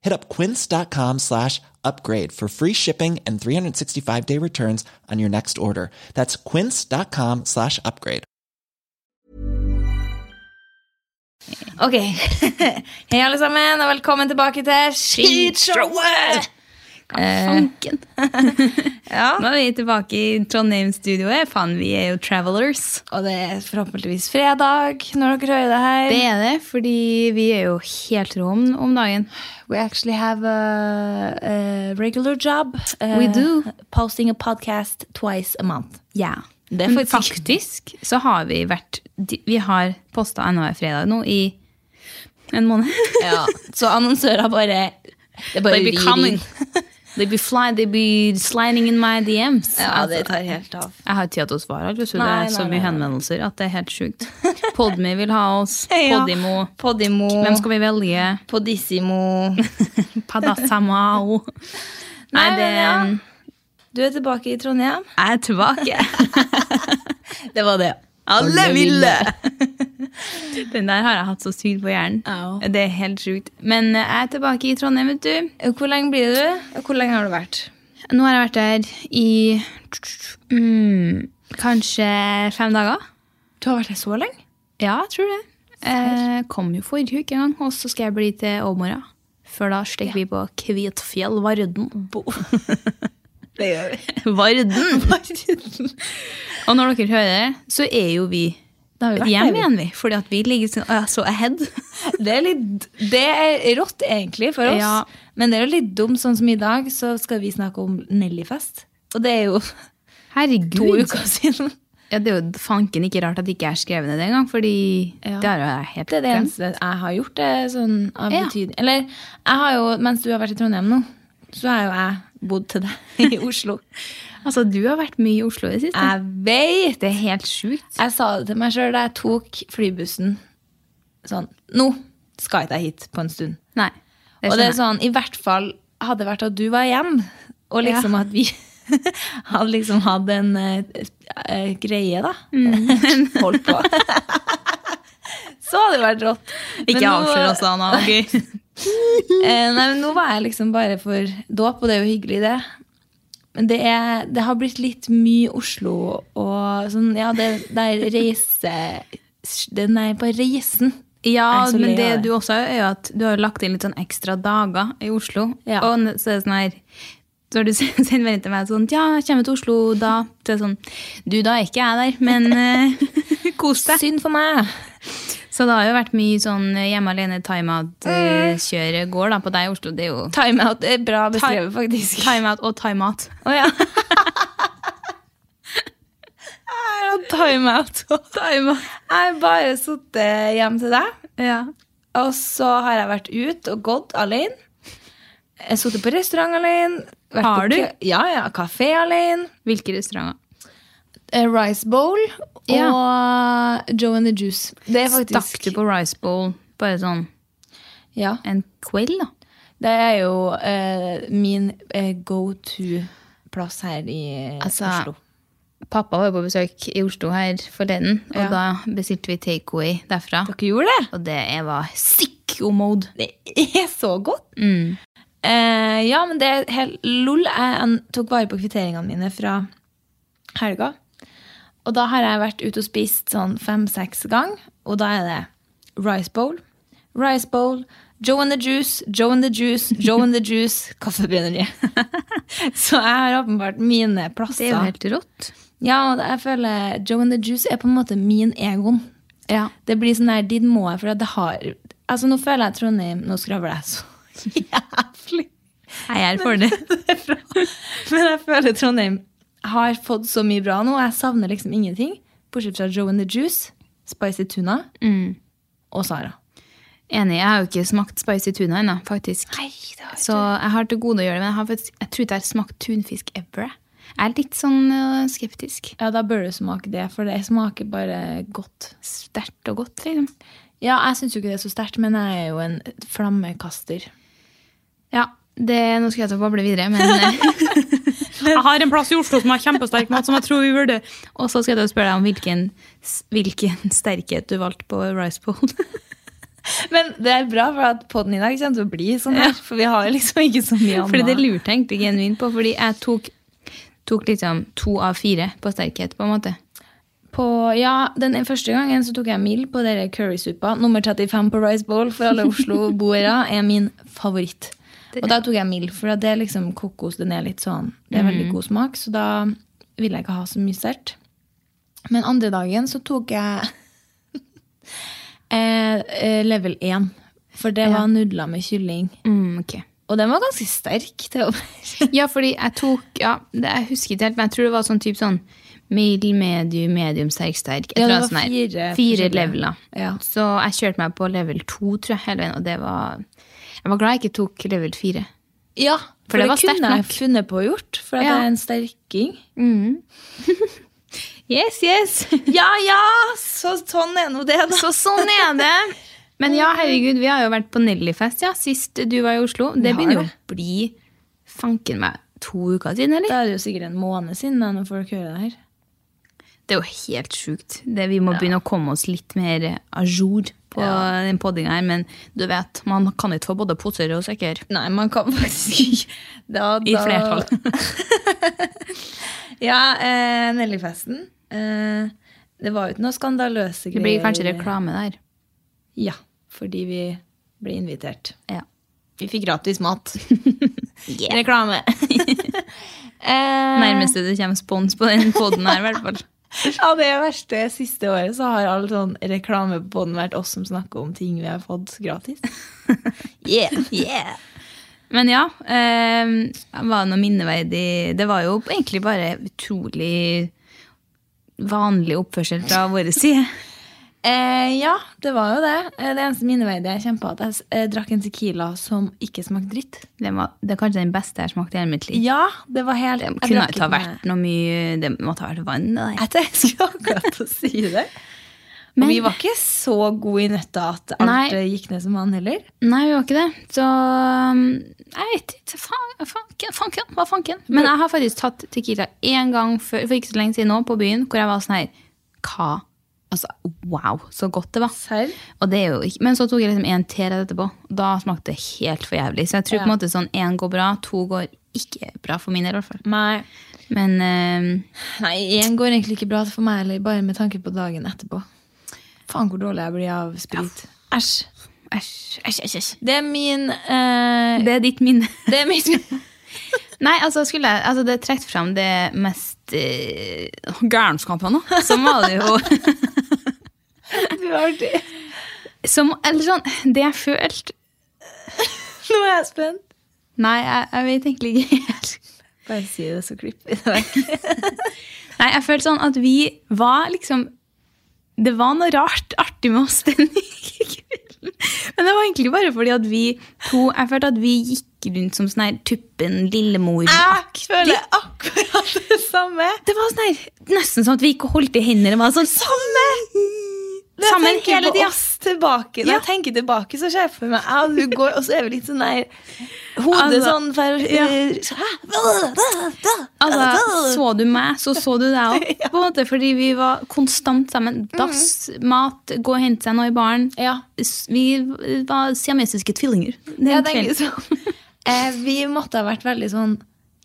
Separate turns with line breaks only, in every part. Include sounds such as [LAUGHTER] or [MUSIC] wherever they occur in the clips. Hit up quince.com slash upgrade for free shipping and 365 day returns on your next order. That's quince.com slash upgrade.
Ok. [LAUGHS] Hei, alle sammen, og velkommen tilbake til Skishowet!
Fanken.
[LAUGHS] Ja.
Nå er vi tilbake i Trondheim-studioet. Faen, vi er jo travelers.
Og det er forhåpentligvis fredag når dere hører det her.
Det er det, fordi vi er jo helt rå om, om dagen.
We actually have a, a regular job. uh,
We do.
Posting a podcast twice a month.
Ja.
er
Men
faktisk-
faktisk så har vi vært Vi har posta NHR fredag nå i en måned.
[LAUGHS] Ja, Så annonsører bare Det
They be coming. [LAUGHS] They be fly, they be sliding in my DMs.
Ja, det tar helt av.
Jeg har ikke tid til å svare alle, så det
Nei,
er så
nei,
mye
nei.
henvendelser at det er helt [LAUGHS] sjukt. Podme vil ha oss.
Ja.
Podimo.
Podimo.
Hvem skal vi velge?
Podissimo.
[LAUGHS] Padasamao. [LAUGHS] Nei, det
men Du er tilbake i Trondheim.
Jeg er [LAUGHS] tilbake.
Det var det.
Alle ville! Den der har jeg hatt så sykt på hjernen.
Au.
Det er helt sjukt. Men eh, jeg er tilbake i Trondheim, vet du.
Hvor lenge blir du? Og Hvor lenge har du vært?
Nå har jeg vært der i mm, kanskje fem dager.
Du har vært her så lenge?
Ja, jeg tror det. Eh, kom jo forrige uke en gang, og så skal jeg bli til Åmora. Før da stikker vi på Kvitfjell, Varden.
[LAUGHS] Det gjør vi.
[LAUGHS] Varden! Og når dere hører det, så er jo vi
Da har vi vært
hjem
der, vi.
igjen, vi. Fordi at vi ligger sånn, «Å, jeg er så ahead.
[LAUGHS] Det er litt Det er rått, egentlig, for oss.
Ja.
Men det er jo litt dumt, sånn som i dag, så skal vi snakke om Nellyfest. Og det er jo
Herregud.
to
[LAUGHS]
uker siden.
Ja, det er jo fanken ikke rart at det ikke er skrevet ned engang, fordi
Ja.
det har jo jeg helt
Det er det
glemt.
eneste jeg har gjort. Det er sånn av
Ja.
betydning. Eller jeg har jo, mens du har vært i Trondheim nå, så har jo jeg bodd til deg [LAUGHS] i Oslo.
Altså, du har vært mye i Oslo i det siste.
Jeg vet!
Det er helt sjukt.
Jeg sa det til meg sjøl da jeg tok flybussen. Sånn Nå skal ikke jeg hit på en stund.
Nei. Det
og det er
skjønner jeg.
sånn, i hvert fall hadde det vært at du var hjem, og liksom at vi [LAUGHS] hadde liksom hatt en eh, eh, greie, da.
Mm.
[LAUGHS] Holdt på. Så hadde det vært rått. Men
Ikke
nå-
avslør oss, Anna. ok?
Eh, nei, men nå var jeg liksom bare for dåp, og det er jo hyggelig, det. Men det, er, det har blitt litt mye Oslo og sånn Ja, det der reise... Den er på reisen.
Ja,
Jeg er så lei
men
av
det
det.
du også har, er jo at du har lagt inn litt sånn ekstra dager i Oslo.
Ja.
Og n- så er det sånn her så har du [LAUGHS] sendt melding til meg sånn Ja, jeg kommer til Oslo da. Så er det sånn Du, da er ikke jeg der, men
[LAUGHS]
eh, kos deg.
Synd for meg!
Så det har jo vært mye sånn hjemme alene timeout-kjøret går da på deg i Oslo. Det er jo
Mm. Timeout er bra beskrevet, faktisk.
timeout og timeout.
Å ja.
[LAUGHS]
[LAUGHS] Jeg har timeout. Jeg har bare sittet hjem til deg,
Ja.
og så har jeg vært ute og gått alene. Jeg har sittet på restaurant alene. vært på
Har du?
kø- Ja, ja. Kafé alene.
Hvilke restauranter?
eh, Rice Bowl
Ja.
og Joe and the Juice. Det er
Stakk
faktisk
du på Rice Bowl bare sånn
ja,
en kveld, da?
Det er jo eh, min eh, go to-plass her i
Altså,
Oslo.
Pappa var jo på besøk i Oslo her forleden, og da bestilte vi takeaway derfra.
Dere gjorde det?
Og det er- var sicko-mode.
Det er så godt!
Mm.
Eh, ja, men det er helt lol. Jeg an- tok vare på kvitteringene mine fra helga. Og da har jeg vært ute og spist sånn fem-seks gang, og da er det rice bowl, rice bowl, Joe and the Juice, Joe and the Juice, Joe and the Juice, [LAUGHS] kaffebrenneri. så jeg har åpenbart mine
Det er jo
plasser.
helt rått.
Ja, og jeg føler Joe and the Juice er på en måte min egon.
Ja.
Det blir sånn der, dit må jeg, for det har Altså, nå føler jeg Trondheim Nå skravler jeg så [LAUGHS] jævlig. [LAUGHS]
Jeg er for det.
Men jeg føler Trondheim har fått så mye bra nå. og Jeg savner liksom ingenting. Bortsett fra Joe and the Juice, Spicy Tuna og Sara.
Enig. Jeg har jo ikke smakt spicy tuna ennå, faktisk. Så jeg har til gode å gjøre det, men jeg, har faktisk, jeg tror ikke jeg har smakt tunfisk ever. jeg. Jeg er litt sånn øh, skeptisk.
Ja, da bør du smake det, for det smaker bare godt.
Sterkt og godt, liksom.
Ja, jeg syns jo ikke det er så sterkt, men jeg er jo en flammekaster.
Ja, det, nå skal jeg ta og bable videre, men eh, [LAUGHS] Jeg har en plass i Oslo som har kjempesterk mat, som jeg tror vi burde Og så skal jeg ta og spørre deg om hvilken, s- hvilken sterkhet du valgte på rice [LAUGHS] bowl.
Men det er bra, for at podden i dag kommer til å bli sånn her. For vi har liksom ikke så mye annet.
Fordi det lurte jeg egentlig genuint på, fordi jeg tok, tok liksom to av fire på sterkhet, på en måte.
På, ja, den første gangen så tok jeg mild på dere currysuppa. Nummer 35 på Rice Bowl for alle Oslo-boere er min favoritt. Og da tok jeg mild, for det er liksom kokos. Den er litt sånn, det er
Mm.
veldig god smak, så da vil jeg ikke ha så mye sterkt. Men andre dagen så tok jeg [LAUGHS] eh, eh, level 1. For det var nudler med kylling.
Mm, ok.
Og den var ganske sterk. til å [LAUGHS] være.
[LAUGHS] Ja, fordi jeg tok ja, det, Jeg husker ikke helt, men jeg tror det var sånn type sånn mild, medium, medium, sterk, sterk.
Ja,
Jeg tror
det
var
var
sånn her,
fire
fire
forskjellige.
leveler.
Ja.
Så jeg kjørte meg på level to, tror jeg, hele veien, og det var Jeg var glad jeg ikke tok level fire.
Ja, for, det,
det var sterkt
kunne jeg
nok.
funnet på å gjort, for at
Ja.
det er en sterking.
Yes, [LAUGHS] yes!
Ja, ja, så sånn er nå det, da.
Så sånn er det. Men ja, herregud, vi har jo vært på Nellyfest ja, sist du var i Oslo. Det
har
begynner jo
det.
å bli fanken meg to uker siden, eller?
Da er det jo sikkert en måned siden da, når folk hører det her.
Det er jo helt sjukt. Det, vi må begynne å komme oss litt mer à jour på den poddinga her. Men du vet, man kan ikke få både poser og sekker.
Nei, man kan faktisk ikke da,
I flertall.
ja, eh, Nellyfesten. Eh, det var jo ikke noe skandaløse
Det blir kanskje reklame der.
Ja, fordi vi ble invitert.
Ja.
Vi fikk gratis mat.
[LAUGHS] Yeah. [LAUGHS]
Reklame. eh,
Nærmeste det kommer spons på den podden her, i hvert fall.
Ja, det verste siste året så har all sånn reklame på den vært oss som snakker om ting vi har fått gratis. [LAUGHS] yeah, yeah.
Men ja, eh, var det noe minneverdig Det var jo egentlig bare utrolig vanlig oppførsel fra vår side.
Eh, ja, det var jo det. Eh, Det eneste minneverdige jeg kjempa, at jeg s- eh, drakk en tequila som ikke smakte dritt.
Det, var, det er kanskje den beste jeg har smakt i hele mitt liv.
Ja, det var helt
Det
jeg
kunne
drakk
ikke ha
ikke med-
vært noe mye Det måtte ha vært vann. Det der.
Jeg tenkte- jeg skulle akkurat til å si det. Men vi var ikke så gode i nøtta at alt
Nei.
eh, gikk ned som han heller.
Nei, vi var ikke det. Så um, jeg vet ikke. Faen, fanken, fanken, hva fanken? Men jeg har faktisk tatt Tequila én gang før, for ikke så lenge siden nå, på byen, hvor jeg var sånn her Hva? Altså, wow, så godt det var.
Serr?
Og det er jo ikke, men så tok jeg liksom en til rett etterpå. Da smakte det helt for jævlig. Så jeg tror på en måte sånn én går bra, to går ikke bra for min del, i hvert fall.
Nei.
Men um,
Nei, én går egentlig ikke bra for meg heller, bare med tanke på dagen etterpå. Faen hvor dårlig jeg blir av sprit. Æsj.
æsj, æsj, æsj, æsj.
Det er min eh,
Det er ditt minne.
Det er mitt
[LAUGHS] Nei, altså, skulle jeg, altså det trekt frem det mest eh, gærenskapet nå, så må det jo
[LAUGHS] Du har [LAUGHS] det.
som, Eller sånn, det jeg følte
[LAUGHS] Nå er jeg spent.
Nei, jeg, jeg vet egentlig ikke helt.
Bare si det, så klipper vi det vekk.
[LAUGHS] Nei, jeg følte sånn at vi var liksom Det var noe rart artig med oss den [LAUGHS] kvelden. Men det var egentlig bare fordi at vi to Jeg følte at vi gikk rundt som sånn her Tuppen Lillemor.
Jeg føler akkurat det samme.
Det var sånn her, nesten sånn at vi ikke holdt i hender. Det var sånn samme!
Når jeg
Sammen
tenker
hele
på
tida.
oss tilbake. Når
Ja.
jeg tenker tilbake, så ser jeg for meg jeg og du går, og så er vi litt sånn der Hodet
Altså,
sånn for,
ja.
Hæ?
Altså, så du meg, så så du deg òg. På en måte, fordi vi var konstant sammen. Dass, mat, gå og hente seg noe i baren.
Ja.
S- Vi var siamesiske tvillinger. den
Jeg tenker
kvelden.
sånn eh, Vi måtte ha vært veldig sånn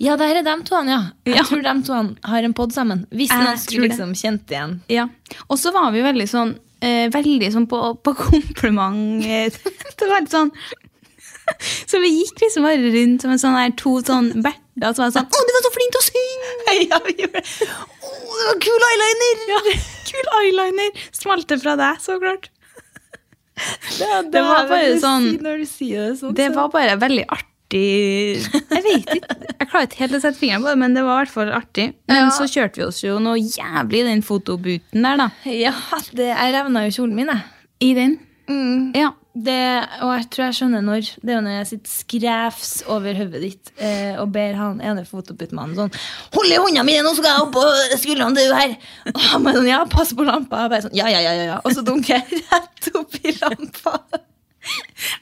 Ja, der er dem to, ja. Jeg
Ja.
tror dem to har en pod sammen. Hvis
Jeg
noen
tror
skulle
det.
liksom kjent igjen.
Ja. Og så var vi veldig sånn eh, Veldig sånn på, på [LAUGHS] kompliment. eh, det var litt sånn Så vi gikk liksom bare rundt som en sånn der, to sånn berter som var sånn 'Å, du var så flink til å synge!'
Ja, vi gjorde det. Å, det var kul eyeliner!
Ja, Kul eyeliner! Smalte fra deg, så klart.
det,
var
er
bare
veldig
sånn-
synd Når du sier det sånn,
Det
så-
var bare veldig artig Jeg vet ikke. Jeg klarer ikke helt å sette fingeren på det, men det var i hvert fall artig.
Ja.
Men så kjørte vi oss jo noe jævlig i den fotobooten der, da.
Ja, det, jeg revna jo kjolen min, jeg.
I den.
Ja, det, og jeg tror jeg skjønner når. Det er jo når jeg sitter skrevs over hodet ditt eh, og ber han ene fotobutmannen sånn Hold i hånda mi, nå skal jeg opp på skuldrene til hun her! Og han bare sånn, ja, pass på lampa. Jeg bare sånn, ja, ja, ja, ja, ja. Og så dunker jeg rett opp i lampa.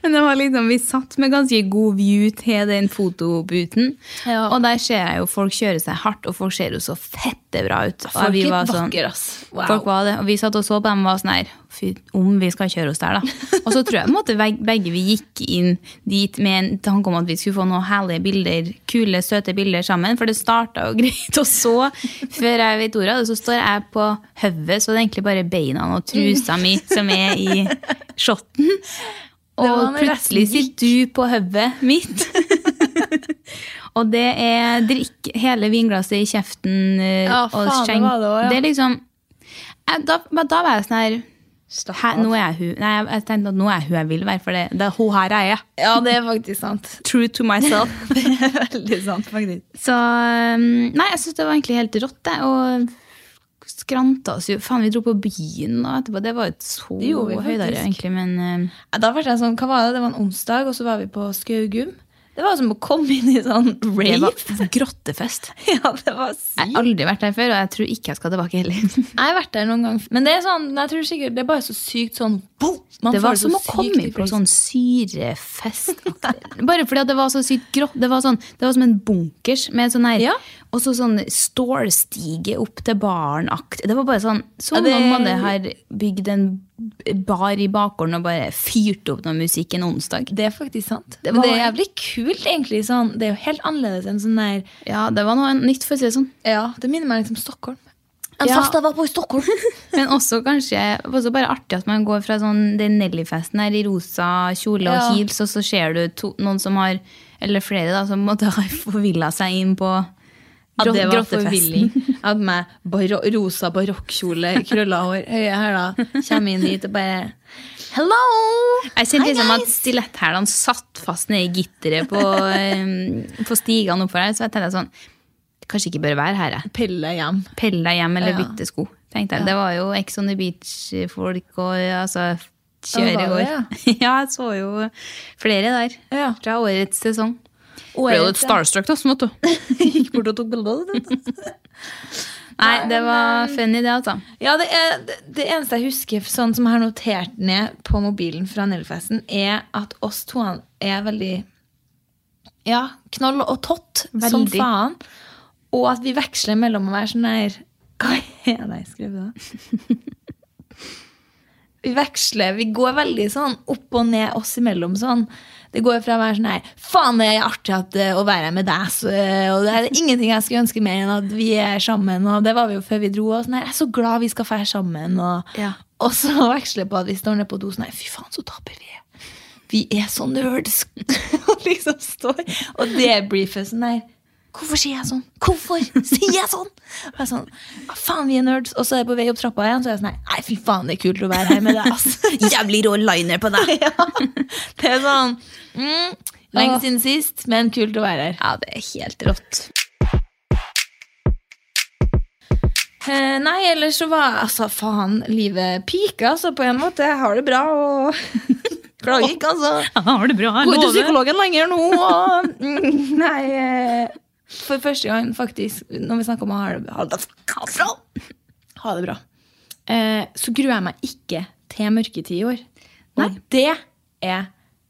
Men det var liksom, vi satt med ganske god view til den fotobooten.
Ja.
Og der ser jeg jo folk kjøre seg hardt, og folk ser jo så fette bra ut. Og
Folk
vi
er
var sånn-
vakre, ass. Wow.
Folk var det. Og vi satt og så på dem og var sånn her Fy, om vi skal kjøre oss der,
[LAUGHS]
da. Og så tror jeg på en måte veg- begge vi gikk inn dit med en tanke om at vi skulle få noen herlige bilder, kule, søte bilder sammen. For det starta jo [LAUGHS] greit, og så, før jeg vet ordet av det, så står jeg på hodet, så det er egentlig bare beina og trusa mi som er i shotten.
var
Og
når
plutselig
resten
sitter du på hodet mitt.
[LAUGHS]
og det er drikk hele vinglasset i kjeften eh,
Ja,
og
faen, det
skjenk.
var det også, ja.
er liksom jeg, da, men da var jeg sånn her Hæ, nå er jeg hun Nei, jeg, jeg tenkte at nå er jeg hun jeg vil være, for det, det er hun her er jeg.
Ja, det er faktisk sant.
[LAUGHS] True to
[LAUGHS]
myself.
Det er veldig sant, faktisk.
Så um, Nei, jeg syns det var egentlig helt rått, det. Og skranta oss jo. Faen, vi dro på byen og etterpå. Det var jo et så
Det gjorde vi
høydere,
faktisk.
egentlig, men eh,
Ja, Da ble jeg sånn, hva var det? Det var en onsdag, og så var vi på Skaugum. Det var som å komme inn i sånn
det
rave. [LAUGHS]
var grottefest.
Ja, det var sykt.
Jeg har aldri vært der før, og jeg tror ikke jeg skal tilbake heller. [LAUGHS]
Jeg har vært der noen gang. Men det er sånn, jeg tror sikkert, det er bare så sykt sånn boom, man
Det
får
var som å
så sykt
komme inn på
impuls.
sånn syrefest. [LAUGHS] Bare fordi at det var så sykt grått. Det var, sånn, det var som en bunkers med sånn her
Ja.
Og så sånn stålstige opp til baren-akt. Det var bare sånn Som
Ja, det-
om man har bygd en bar i bakgården og bare fyrt opp noe musikk en onsdag.
Det er faktisk sant.
Det
Men det er
var-
jævlig kult, egentlig. Sånn. Det er jo helt annerledes enn sånn der
Ja, det var noe nytt, for å si det sånn.
Ja, det minner meg litt om Stockholm.
En fest jeg
var på i Stockholm.
Men også kanskje også bare artig at man går fra sånn, den Nelly-festen her i rosa kjole og
Ja.
heels, og så ser du to, noen som har, eller flere da, som måtte ha forvilla seg inn på
[LAUGHS] Ja, det var
grottefesten.
forvilling. Jeg hadde med baro rosa barokkjole, krølla hår, høye hæler. Kommer inn hit og bare Hello!
Jeg kjente
Hi,
liksom at
guys!»
stiletthælene satt fast nede i gitteret
[LAUGHS]
på, eh, på stigene oppover her, så jeg tenkte sånn, kanskje ikke bør være her, jeg.
Pelle hjem.
Pelle deg hjem eller
Ja.
bytte sko, tenkte jeg. Det var jo Ex on the Beach-folk og ja, altså,
Ja,
kjøre i
var det,
år. [LAUGHS] Ja, jeg så jo flere der
Ja.
fra årets sesong.
Årets,
Ble jo litt
ja.
starstruck, da, som vet du.
Gikk bort og tok bilder. du.
Nei, det var funny, det, altså.
Ja, det, er, det, det eneste jeg husker sånn som jeg har notert ned på mobilen fra Nellefesten, er at oss to er veldig ja, knoll og tott som
Veldig.
faen. Og at vi veksler mellom å være sånn der [LAUGHS] Hva er det jeg skrev da? Vi veksler. Vi går veldig sånn opp og ned oss imellom sånn. Det går fra å være sånn her Faen, det er artig at, eh, å være her med deg, så, eh, og det er ingenting jeg skulle ønske mer enn at vi er sammen, og det var vi jo før vi dro, og sånn her Jeg er så glad vi skal fære sammen, og,
Ja.
og så [LAUGHS] veksler det på at vi står ned på do sånn her Fy faen, så taper vi er. Vi er så nerds! [LAUGHS] og liksom står og debrifer sånn der. Hvorfor sier jeg sånn? Hvorfor sier jeg sånn? Og jeg er sånn, «Ah, Faen, vi er nerds. Og så er jeg på vei opp trappa igjen, så er jeg sånn her, Nei, fy faen, det er kult å være her med deg, ass. [LAUGHS]
Jævlig rå liner på deg.
ja. Det er sånn mm, Lenge siden sist, men kult å være her.
Ja, det er [LAUGHS] helt rått.
Eh, nei, ellers så var altså faen livet pika, så på en måte. Jeg har det bra og [LAUGHS] Klager ikke, altså.
Har det bra,
Går til psykologen lenger nå. [LAUGHS] Og, mm, nei, eh, for første gang faktisk, når vi snakker om å ha det, ha det, ha det bra, ha det bra eh, så gruer jeg meg ikke til mørketid i år. Og det er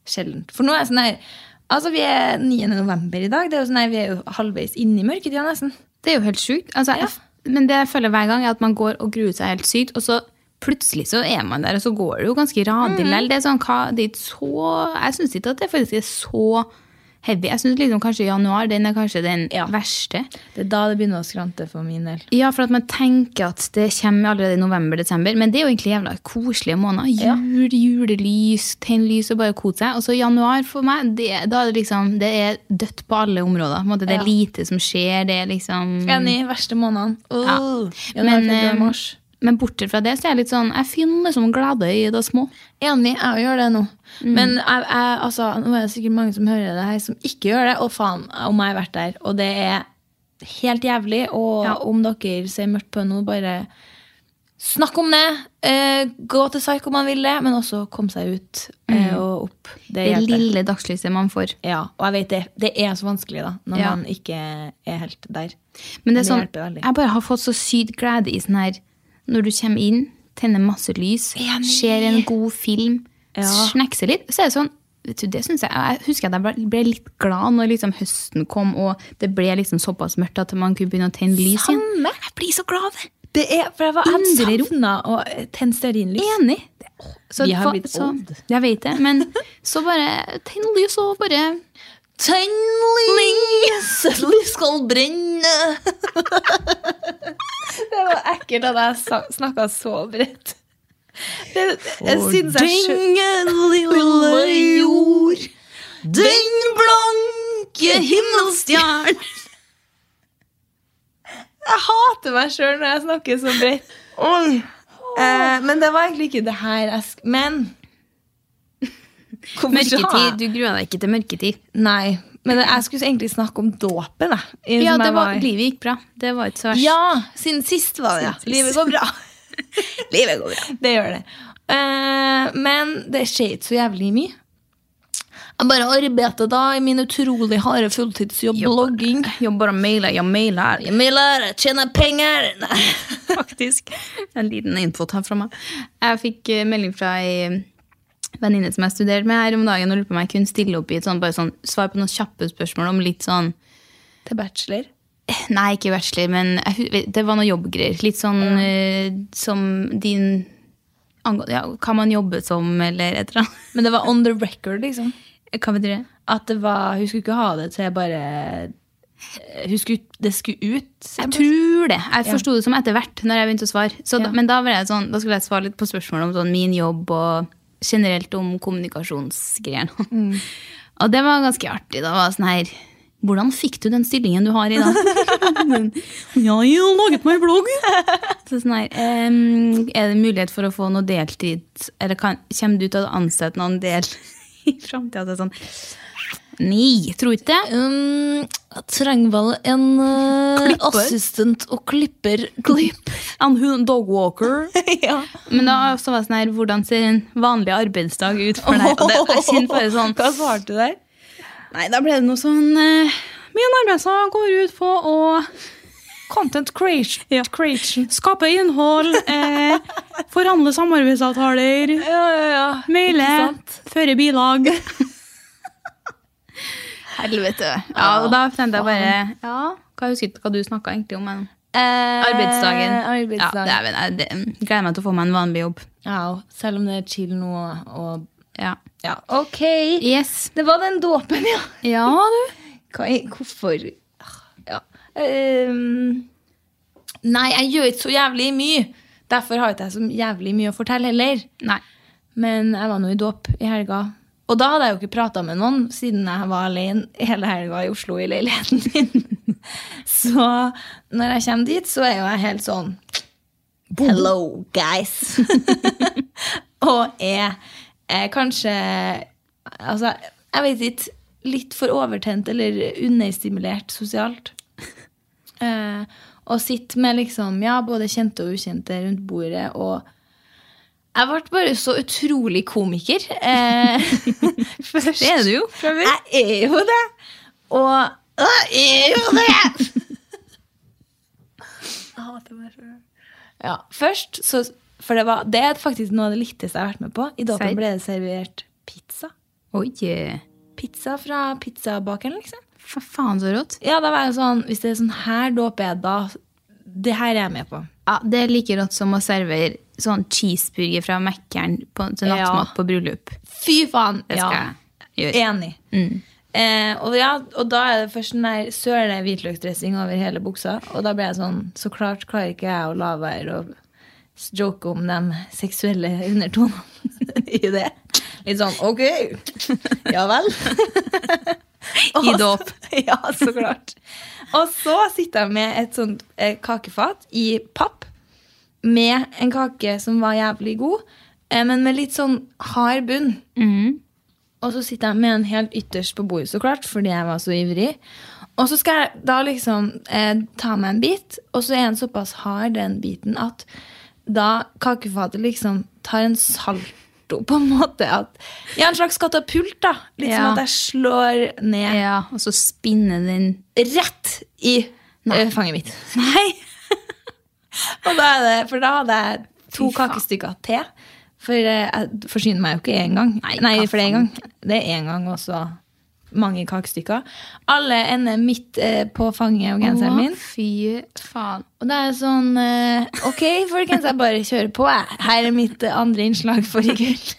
sjeldent. For nå er jeg sånn her Altså, vi er 9. november i dag. Det er jo sånn her, vi er jo halvveis inne i mørketida, nesten.
Det er jo helt sjukt. Altså, jeg- Men det jeg føler hver gang, er at man går og gruer seg helt sykt, og så plutselig så er man der, og så går det jo ganske radig likevel. Det er sånn, hva, det er ikke så Jeg syns ikke at det faktisk er så heavy. Jeg syns liksom kanskje januar den er kanskje den verste.
Det er da det begynner å skrante for min del.
Ja, for at man tenker at det kommer allerede i november-desember, men det er jo egentlig jævla koselige måneder. Jul, julelys, tenn lys og bare kose seg. Og så januar for meg, det, da er det liksom Det er dødt på alle områder. På en måte, det
Ja.
er lite som skjer, det er liksom
Enig. Verste månedene. Åh, januar,
Men,
februar,
eh,
mars.
men bortsett fra det, så er jeg litt sånn Jeg finner meg som glade i det små.
Enig, jeg gjør det nå.
Mm.
Men jeg, jeg, altså, nå er det sikkert mange som hører det her, som ikke gjør det. Og faen, om jeg har vært der. Og det er helt jævlig. Og
Ja.
om dere ser mørkt på det nå, bare snakk om det. Eh, gå til Psyk om man vil det, men også kom seg ut eh, og opp. Det
Mm. Det
hjelper.
lille dagslyset man får.
Ja, og jeg vet det. Det er så vanskelig da, når
Ja.
man ikke er helt der.
Men det er sånn,
hjelper veldig.
jeg bare har fått så sykt glede i sånn her Når du kommer inn, tenner masse lys, ser en god film,
Ja.
snekser litt, så er det sånn Vet du, det synes jeg, jeg husker at jeg ble- ble litt glad når liksom høsten kom, og det ble liksom såpass mørkt at man kunne begynne å tenne lys igjen.
Samme.
Jeg blir så glad av det!
Det er, for jeg var
Indre ro.
savna å tenne stearinlys.
Enig. Så,
Vi har
fa-
blitt
så-
old.
Jeg vet det. Men så bare tenn lys og bare
Tenn lys! [LAUGHS] Lys skal brenne! [LAUGHS] det var ekkelt at jeg snakka så bredt. Det, jeg syns jeg lille jord, den blanke [LAUGHS] himmelstjern Jeg hater meg sjøl når jeg snakker så bredt. Eh, men det var egentlig ikke det her jeg sk... Men [LAUGHS] Hvorfor skal jeg-
Mørketid. Du gruer deg ikke til mørketid.
Nei, men jeg skulle egentlig snakke om dåpen. jeg, i-
Ja,
som
det
jeg
var,
i.
livet gikk bra. Det var ikke så verst.
Ja, siden sist var det. Ja. Livet går bra. [LAUGHS] Livet går bra. Det gjør det. Eh, men det skjer ikke så jævlig mye. Jeg bare arbeider da i min utrolig harde fulltidsjobb, blogging.
Jobber og mailer, ja, mailer. [LAUGHS]
Jeg mailer, jeg tjener penger. Nei.
Faktisk. En liten infot her fra meg. Jeg fikk eh, melding fra ei venninne som jeg studerte med her om dagen, og lurte på om jeg kunne stille opp i et sånt, bare sånn, svar på noen kjappe spørsmål om litt sånn
[LAUGHS] Til bachelor.
Nei, ikke bachelor, men jeg, hu- det var noe jobbgreier. Litt sånn eh, som din angå- ja, Hva man jobber som, eller et eller annet.
Men det var on the record, liksom.
Hva betyr det?
At det var, Hun skulle ikke ha det til bare hun skulle, Det skulle ut.
Jeg tror det. Jeg forsto det som etter hvert. når jeg begynte å svare. Så da,
Ja.
men da, var jeg sånn, da skulle jeg svare litt på spørsmål om sånn min jobb og generelt om kommunikasjonsgreiene. [LAUGHS] Og det var ganske artig. Da var det sånn her Hvordan fikk du den stillingen du har i dag? [LAUGHS] ja, jeg har laget meg [LAUGHS] blogg. Så sånn her, ehm, er det mulighet for å få noe deltid? Eller kan, kommer du til å ansette noen del [LAUGHS] i framtida? Så er det sånn, Nei, tror ikke det.
Um, jeg trenger vel en eh,
Klipper.
assistent og klipper. Klipp.
En hund, dog walker.
[LAUGHS] ja.
Men da har jeg også vært sånn her, hvordan ser en vanlig arbeidsdag ut for deg? Og det, jeg kjente bare sånn,
Hva svarte du der?
nei, da ble det noe sånn, eh, min arbeidsdag går ut på å
Content creation. creation.
skape innhold, eh, forhandle samarbeidsavtaler,
Ja, ja, ja.
maile,
Ikke sant?
føre bilag. Helvete. Ja, og da tenkte jeg bare, ja, hva husker ikke hva du snakket egentlig om, men Eh, arbeidsdagen. Ja, det er,
Eh, arbeidsdagen.
vel- jeg det- gleder meg til å få meg en vanlig jobb.
Au, selv om det er chill nå og, og
Ja.
ja. Ok.
Yes.
Det var den dåpen, ja.
Ja, du.
Hva er, hvorfor ja. Ehm, Nei, jeg gjør ikke så jævlig mye. Derfor har ikke jeg så jævlig mye å fortelle heller.
Nei.
Men jeg var nå i dåp i helga. Og da hadde jeg jo ikke prata med noen, siden jeg var alene hele helga i Oslo i leiligheten min. [LAUGHS] Så når jeg kommer dit, så er jo jeg helt sånn Hello, guys. og er, er kanskje Altså, jeg vet ikke. Litt for overtent eller understimulert sosialt. Eh, og sitter med liksom, ja, både kjente og ukjente rundt bordet og jeg ble bare så utrolig komiker. Eh, først.
Det er du jo, fra før.
Jeg er jo det. Og jeg er jo det! Jeg hater meg sjøl. Ja, først så For det, var, det er faktisk noe av det litteste jeg har vært med på. I dåpen
Serr?
ble det servert pizza.
Oi, eh,
Pizza fra pizzabakeren, liksom.
fa faen så rått.
Ja, da var jeg sånn, Hvis det er sånn her dåp er, da Det her er jeg med på.
Ja, Det er like rått som å servere sånn cheeseburger fra Mækkern på- til
Ja.
nattmat på bryllup.
Fy faen!
Det skal jeg gjøre.
Enig. Eh, og, ja, og da er det først den der søle hvitløksdressing over hele buksa. Og da ble jeg sånn Så klart klarer ikke jeg å la være å s- joke om de seksuelle undertonene [LAUGHS] i det. Litt sånn ok, ja vel.
I dåp.
[LAUGHS] Ja, så klart. Og så sitter jeg med et sånt eh, kakefat i papp med en kake som var jævlig god, eh, men med litt sånn hard bunn. Og så sitter jeg med en helt ytterst på bordet, så klart, fordi jeg var så ivrig. Og så skal jeg da liksom eh, ta meg en bit, og så er den såpass hard, den biten, at da kakefatet liksom tar en salto, på en måte. At, ja, en slags katapult, da. Litt
Ja.
som at jeg slår ned
Ja, Og så spinne den
rett i eh, fanget mitt. Nei! [LAUGHS] og da er det, for da hadde jeg to
Fy faen.
kakestykker til. For eh, jeg forsyner meg jo ikke én gang. Nei, for det er én gang. Det er én gang også. Mange kakestykker. Alle ender midt eh, på fanget og genseren min.
Å, Fy faen.
Og det er sånn eh, Ok, folkens, jeg bare kjører på. Jeg. Her er mitt eh, andre innslag for i kveld.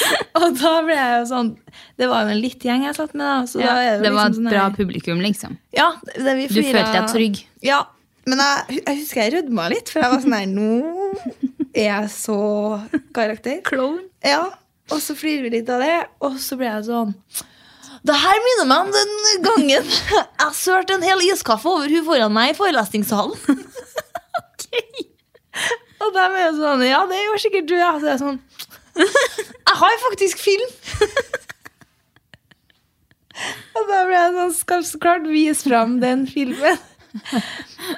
[LAUGHS] og da ble jeg jo sånn Det var jo en litt gjeng jeg satt med, da. Så da er jo
det
liksom
var et
sånn
bra
her-
publikum, liksom.
ja, det, vi
Du følte deg trygg?
Ja, men jeg, jeg husker jeg rødma litt, for jeg var sånn her Nå er jeg så karakter.
Klovn.
Ja, Og så flirer vi litt av det, og så ble jeg sånn det her minner meg om den gangen [LAUGHS] jeg sølte en hel iskaffe over hun foran meg i forelesningssalen. [LAUGHS] Og de er jo sånn Ja, det gjør sikkert du, ja. Så jeg er sånn Jeg har faktisk film! Og da ble jeg sånn Skal så klart vise fram den filmen.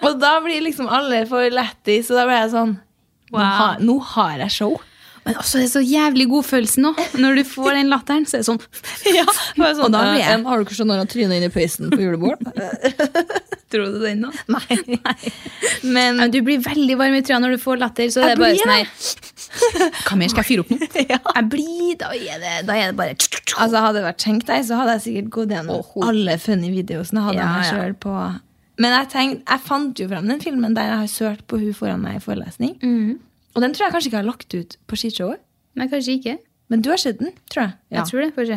Og da blir liksom alle for lættis, og da ble jeg sånn nå, har, nå har jeg show.
Men også, det er så jævlig god følelse nå. Når du får den latteren, så er det sånn [LAUGHS] Og da blir jeg
Sånn, eh, Har du ikke sett når han tryner inn i peisen på julebord?
[LAUGHS] Tror du den nå?
Nei.
[LAUGHS]
Men
Ja, du blir veldig varm i trøya når du får latter. Så
Jeg
det er bare
blir
sånn her [LAUGHS] Hva mer skal jeg fyre opp nå? Jeg blir, da er det, da er det bare
Altså Hadde det vært skjenk deg, så hadde jeg sikkert gått gjennom
Åh.
alle funny videosene. Hadde
Ja,
jeg meg
ja.
selv på Men jeg, tenkte, jeg fant jo fram den filmen der jeg har sølt på hun foran meg i forelesning.
Mm.
Og den tror jeg kanskje ikke jeg har lagt ut på skishowet.
Nei, kanskje ikke.
Men du har sett den, tror jeg.
Jeg tror det, kanskje.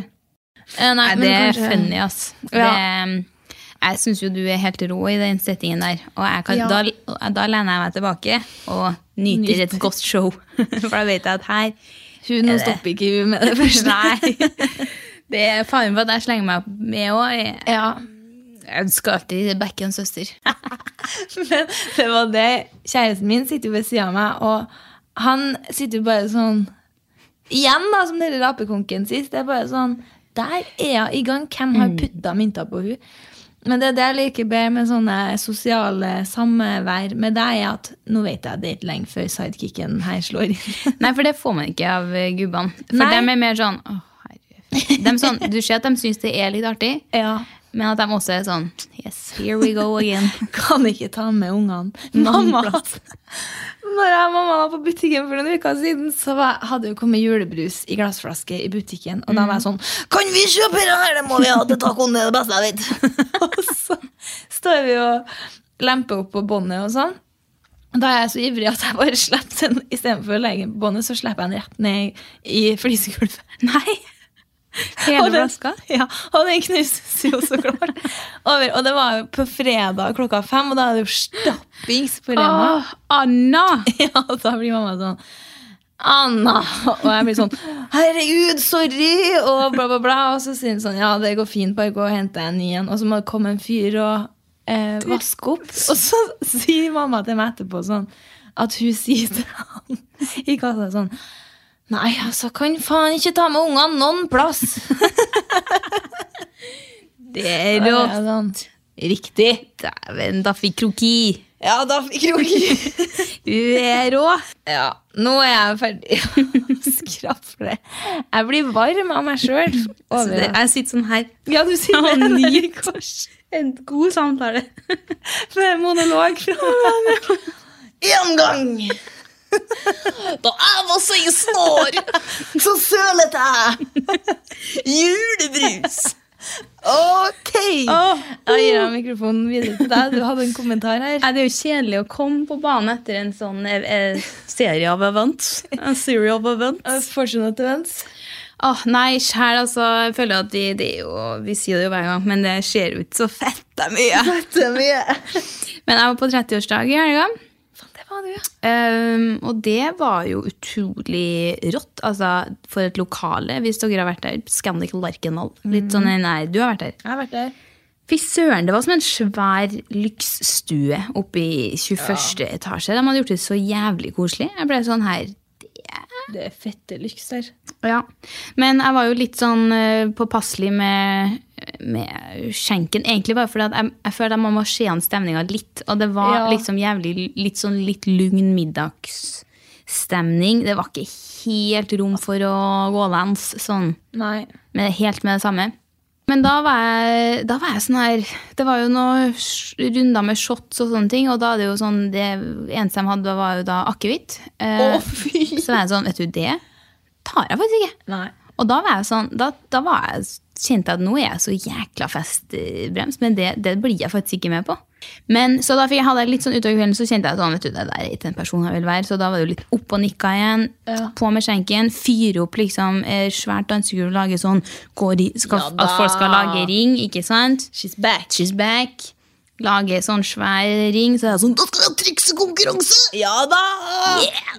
Eh, nei,
Nei,
men
det er
kanskje-
funny, ass.
Ja.
Det, jeg syns jo du er helt rå i den settingen der. Og jeg kan,
Ja.
da, da lener jeg meg tilbake og nyter et godt show. [LAUGHS] For da vet jeg at her
Hun
Er det-
stopper ikke hun med det
[LAUGHS]
første. [LAUGHS]
Nei. Det er faren for at jeg slenger meg opp med òg.
Ja,
Jeg skal alltid backe en søster.
[LAUGHS] Men det var det. Kjæresten min sitter jo ved siden av meg, og han sitter jo bare sånn Igjen, da, som dere rapekonken sist. Det er bare sånn Der er hun i gang. Hvem har putta mynter på hun? Men det er det jeg liker bedre med sånne sosiale samvær med deg, er at nå vet jeg det er ikke lenge før sidekicken her slår
[LAUGHS]
inn.
Nei, for det får man ikke av eh, gubbene. For
Nei.
dem er mer sånn, «Åh, herre». Dem sånn Du ser at de syns det er litt artig,
Ja.
men at de også er sånn Yes, here we go [LAUGHS] again.
Kan ikke ta med ungene. Mamma Når jeg og mamma var på butikken for noen uker siden, så var, hadde hun kommet julebrus i glassflaske i butikken. Og da var jeg sånn Kan vi kjøpe den her? Det må vi ha til tacoen. Det er det beste jeg [LAUGHS] vet. og så står vi og lemper opp på båndet og sånn. Og Da er jeg så ivrig at jeg bare slipper den istedenfor å legge den på båndet, så slipper jeg den rett ned i flisegulvet. Nei!
Hele
Og den-
flaska.
Ja, og den knuses jo så klart. Over, og det var jo på fredag klokka fem, og da er det jo stappings på Rema.
Åh, Anna!
[LAUGHS] Ja, og da blir mamma sånn Anna! Og jeg blir sånn Herregud, sorry! Og bla, bla, bla. Og så sier hun sånn Ja, det går fint, bare gå og hente en ny en. Og så må det komme en fyr og eh, vaske opp. Og så sier mamma til meg etterpå sånn at hun sier til han i kassa sånn Nei, altså, kan faen ikke ta med ungene noen plass!
Det er
Og jeg
rått.
er sånn,
Riktig. Dæven, da fikk kroki.
Ja, da fikk jo ikke
Du er rå.
Ja, nå er jeg
[LAUGHS]
ferdig. Skrafle. Jeg blir varm av meg sjøl.
Så det, jeg sitter sånn her.
Ja, du
[LAUGHS]
sier
Og
det.
nyter sånn en god [LAUGHS] samtale. [LAUGHS]
Med monolog fra
Én gang Da jeg var 16 år, så sølet jeg julebrus. OK!
Jeg gir deg mikrofonen videre til deg. Du hadde en kommentar her.
Nei, det er jo kjedelig å komme på banen etter en sånn eh, eh, serie av [LAUGHS] events. En serie of events.
Fortunate events.
Åh, nei, sjæl, altså. Jeg føler at de, det er jo, Vi sier det jo hver gang, men det skjer jo ikke så fett det er mye.
Det er mye.
Men jeg var på 30-årsdag i helga.
Det var du, ja.
Ehm, og det var jo utrolig rått. Altså, for et lokale, hvis dere har vært der. Scandic Larkenhall. Litt sånn, nei, du har vært der.
Jeg har vært der.
Fy søren, det var som en svær lyksstue oppe i 21. etasje. De hadde gjort det så jævlig koselig. Jeg ble sånn her
Det er fette lyks der.
ja. Men jeg var jo litt sånn eh, påpasselig med, med skjenken. Egentlig bare fordi at jeg, jeg følte at man må se an stemninga litt. Og det var
Ja.
liksom jævlig litt sånn litt lugn middagsstemning. Det var ikke helt rom for å gå lands sånn
Nei.
med, helt med det samme. Men da var, jeg, da var jeg sånn her Det var jo noen sj- runder med shots og sånne ting, og da er det jo sånn Det eneste de hadde, var jo da akevitt. Eh, så var jeg sånn Vet du, det tar jeg faktisk ikke.
Nei.
Og da var jeg sånn Da, da var jeg, kjente jeg at nå er jeg så jækla festbrems, men det, det blir jeg faktisk ikke med på. Men Så da fikk jeg hadde jeg litt sånn utover kvelden, så kjente jeg sånn Vet du, det der er ikke den personen jeg vil være. Så da var det jo litt opp og nikka igjen. På med skjenken. Fyre opp liksom eh, svært dansegulv, lage sånn går i, skal, At folk skal lage ring, ikke sant? She's back. She's back. Lage sånn svær ring, så er det sånn Da skal vi ha triksekonkurranse!
Ja da!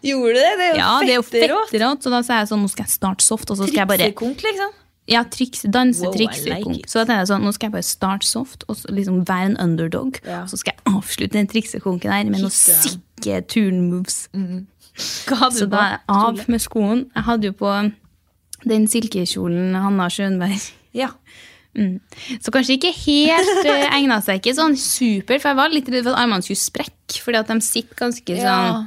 Gjorde du det? Det er jo
Ja, det er jo
fette rått.
fetterått. Så da sa jeg sånn, nå skal jeg starte soft, og så skal jeg bare
Triksekonk, liksom.
ja, triks, danse,
Wow, I
triks,
like
konk.
it.
Så da tenkte jeg sånn, nå skal jeg bare start soft, og så liksom være en underdog. Og så skal jeg avslutte den triksekonken der med noen sikke turn-moves. Så da er jeg av med skoen. Jeg hadde jo på den silkekjolen Hanna Schønberg.
Ja.
Mm. Så kanskje ikke helt uh, egna seg ikke sånn super, for jeg var litt redd for at armene skulle sprekke, fordi at de sitter ganske sånn
Ja.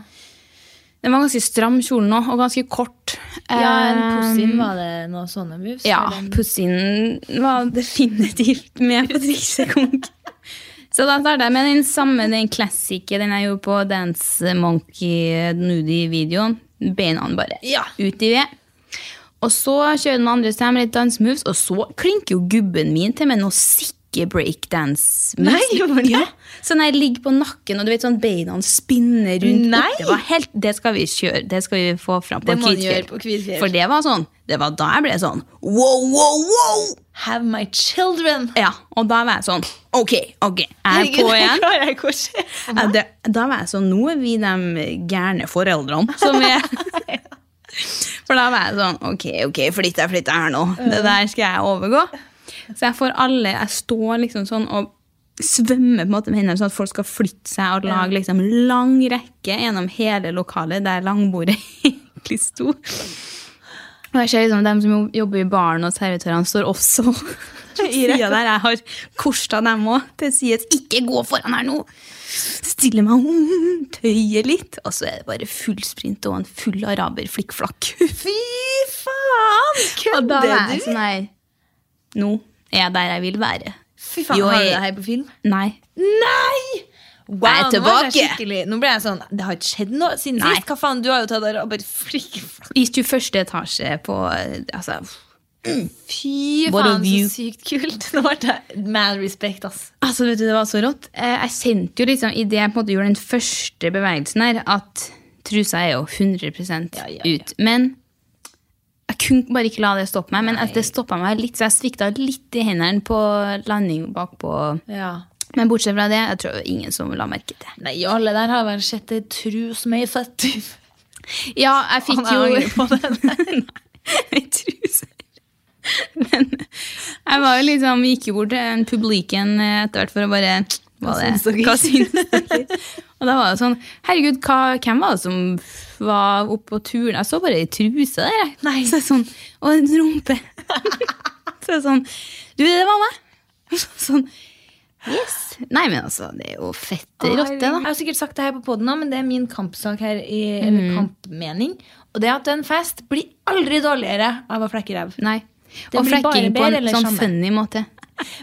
Den var ganske stram kjolen òg, og ganske kort.
ja, en
Eh,
pussin var det noe sånne moves?
ja,
eller?
pussinen var definitivt med på triksekonk. [LAUGHS] Så da startet jeg med den samme, den klassiske, den jeg gjorde på Dance Monkey Nudie-videoen. Beinene bare ut i ved. Og så kjører den andre seg med litt dansemoves, og så klinker jo gubben min til med noe sikke breakdance-moves. Ja. Sånn jeg ligger på nakken, og du vet sånn beina spinner rundt. opp.
Nei!
Det, var helt, det skal vi kjøre, det skal vi få fram på
Det må man
Kvitfjell.
gjøre på Kvitfjell.
For det var sånn, det var da jeg ble sånn, wow, wow, wow!
Have my children!
Ja, og da var jeg sånn, ok, ok, jeg er
Herregud,
på
det
igjen.
klarer jeg ikke å se.
Ja, det, da var jeg sånn, nå er vi de gærne foreldrene som er... [LAUGHS] For da var jeg sånn, ok, ok, flytt deg, flytt deg her nå. Det der skal jeg overgå. Så jeg får alle, jeg står liksom sånn og svømmer på en måte med hendene sånn at folk skal flytte seg og lage liksom lang rekke gjennom hele lokalet der langbordet [LAUGHS] egentlig sto. Og jeg ser liksom dem som jobber i baren og servitørene står også [LAUGHS] på sida der. Jeg har korsa dem òg til sides. Ikke gå foran her nå! Stille meg [LAUGHS] om, tøye litt. Og så er det bare full sprint og en full araber flikkflakk.
[LAUGHS] Fy faen!
Og da
Kødder
er jeg
du?
sånn her Nå er jeg der jeg vil være.
Fy faen,
Jo,
har du
jeg-
det her på film?
Nei.
Nei! Wow,
Jeg er
nå ble jeg
tilbake.
skikkelig- Nå ble jeg sånn Det har ikke skjedd noe siden
Nei.
sist. Hva faen, du har jo tatt der og bare flik,
I 21. etasje på eh, Altså,
Fy
What a
faen,
view.
så sykt kult. [LAUGHS] Nå ble jeg mad respect, ass.
altså vet du, det var så rått. Eh, Jeg kjente jo liksom idet jeg på en måte gjorde den første bevegelsen her, at trusa er jo 100
Ja, ja, ja.
ut. Men jeg kunne bare ikke la det stoppe meg. Men at det stoppa meg litt, så jeg svikta litt i hendene på landing bakpå.
Ja.
Men bortsett fra det, jeg tror ingen som la merke til.
Nei, alle der har vel sett ei trus med ei føtt.
Ja, jeg fikk
Faen, jeg
jo [LAUGHS] Nei, truser. Men jeg var jo liksom, gikk jo bort til en publiken eh, etter hvert for å bare Hva syns dere? Hva syns dere? Og da var det sånn Herregud, hva, hvem var det som var oppe på turen? Jeg så bare ei truse der, jeg. Så jeg sånn, og en rumpe. [LAUGHS] så jeg sånn Du, det var meg. sånn Yes. Nei, men altså, det er jo fette rått, det,
Jeg
da.
har sikkert sagt det her på poden òg, men det er min kampsak her. I,
Mhm.
Eller kampmening. Og det er at en fest blir aldri dårligere av å flekke ræv.
Nei.
Det
Og
blir bare
flekking på
bedre,
en
eller
sånn
samme?
funny måte.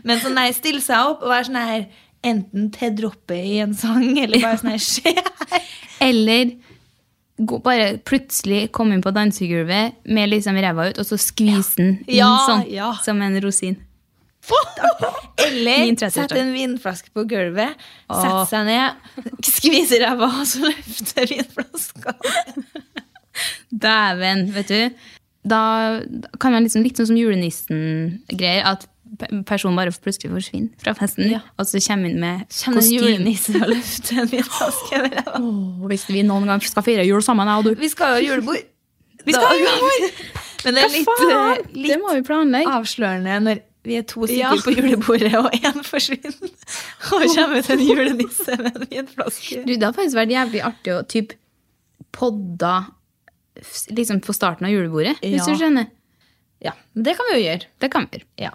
Men sånn nei, stille seg opp og være sånn her enten til droppe i en sang, eller bare sånn her skje.
Eller gå- bare plutselig komme inn på dansegulvet med liksom ræva ut, og så skvise den inn
Ja,
sånn,
ja.
som en rosin. Min
Eller
30-årsdag.
sette en vinflaske på gulvet, sette seg ned, skvise ræva, og så løfte vinflaska.
Dæven, vet du. Da da kan man liksom litt sånn som julenissen-greier, at pe- personen bare plutselig forsvinner fra festen,
Ja.
og så kommer hun med
Kjenner en
kostyme.
julenisse og løfter en vinflaske over ræva.
Åh, hvis vi noen gang skal feire jul sammen, jeg og du
Vi skal jo ha julebord.
Vi skal ha julebord!
[LAUGHS] Men det er litt, eh, litt
Det må vi planlegge.
avslørende når vi er to stykker
Ja.
på julebordet, og én forsvinner. Og kommer [LAUGHS] ut en julenisse med en vinflaske.
Du, det har faktisk vært jævlig artig å typ podda f- liksom på starten av julebordet,
Ja.
hvis du skjønner.
Ja, men det kan vi jo gjøre.
Det kan vi gjøre.
Ja.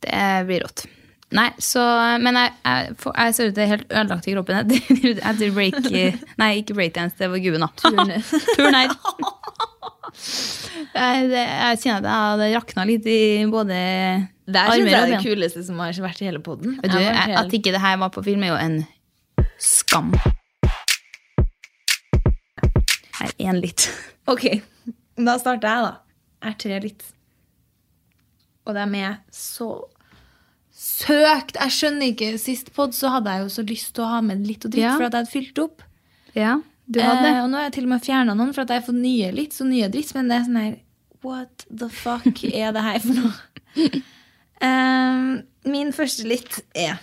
Det blir rått. Nei, så, men jeg, jeg, får- jeg ser ut til helt ødelagt i kroppen. Jeg [LAUGHS] driver- jeg driver break,
[LAUGHS]
nei, ikke breakdance, det var gubben. da. [LAUGHS] Turner. Jeg, det, jeg kjenner at jeg hadde rakna litt i både
Det er synes jeg
armer
er
og
det
ben.
kuleste som har vært i hele poden.
Vet du, jeg, at ikke det her var på film, er jo en skam. Her, én litt.
Ok, da starter jeg da. Jeg er tre litt. Og de er så søkt. Jeg skjønner ikke, sist podd så hadde jeg jo så lyst til å ha med litt og dritt,
Ja.
for at jeg hadde fylt opp.
Ja, du hadde
Eh, og nå har jeg til og med fjernet noen, for at jeg har fått nye litt, så nye dritt, men det er sånn her, what the
[LAUGHS]
fuck er det her for noe? Eh, min første litt er,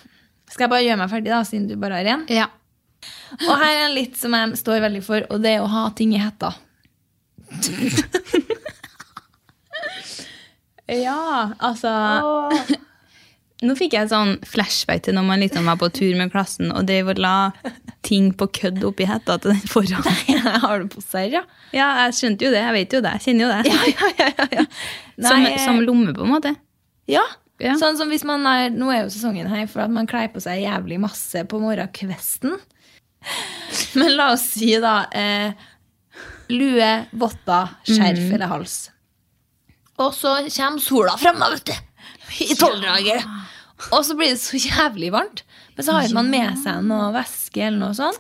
skal jeg bare gjøre meg ferdig da, siden du bare har en?
Ja.
Og her er en litt som jeg står veldig for, og det er å ha ting i hetta.
[LAUGHS]
ja, altså
Nå fikk jeg sånn flashback til når man liksom var på tur med klassen og drev og la ting på kødd oppi hetta til den foran.
Har du på seg, [LAUGHS] ja?
Ja, jeg skjønte jo det. Jeg vet jo det. Jeg kjenner jo det.
ja, ja, ja, ja.
som,
Nei, eh,
som lomme, på en måte.
ja.
Ja.
Sånn som hvis man er, Nå er jo sesongen her for at man kler på seg jævlig masse på morgenkvesten. [LAUGHS] Men la oss si, da eh, Lue, votter, skjerf eller hals. Og så kommer sola frem, da, vet du. I tolvdraget. Og så blir det så jævlig varmt. Men så har man med seg noe væske eller noe sånt.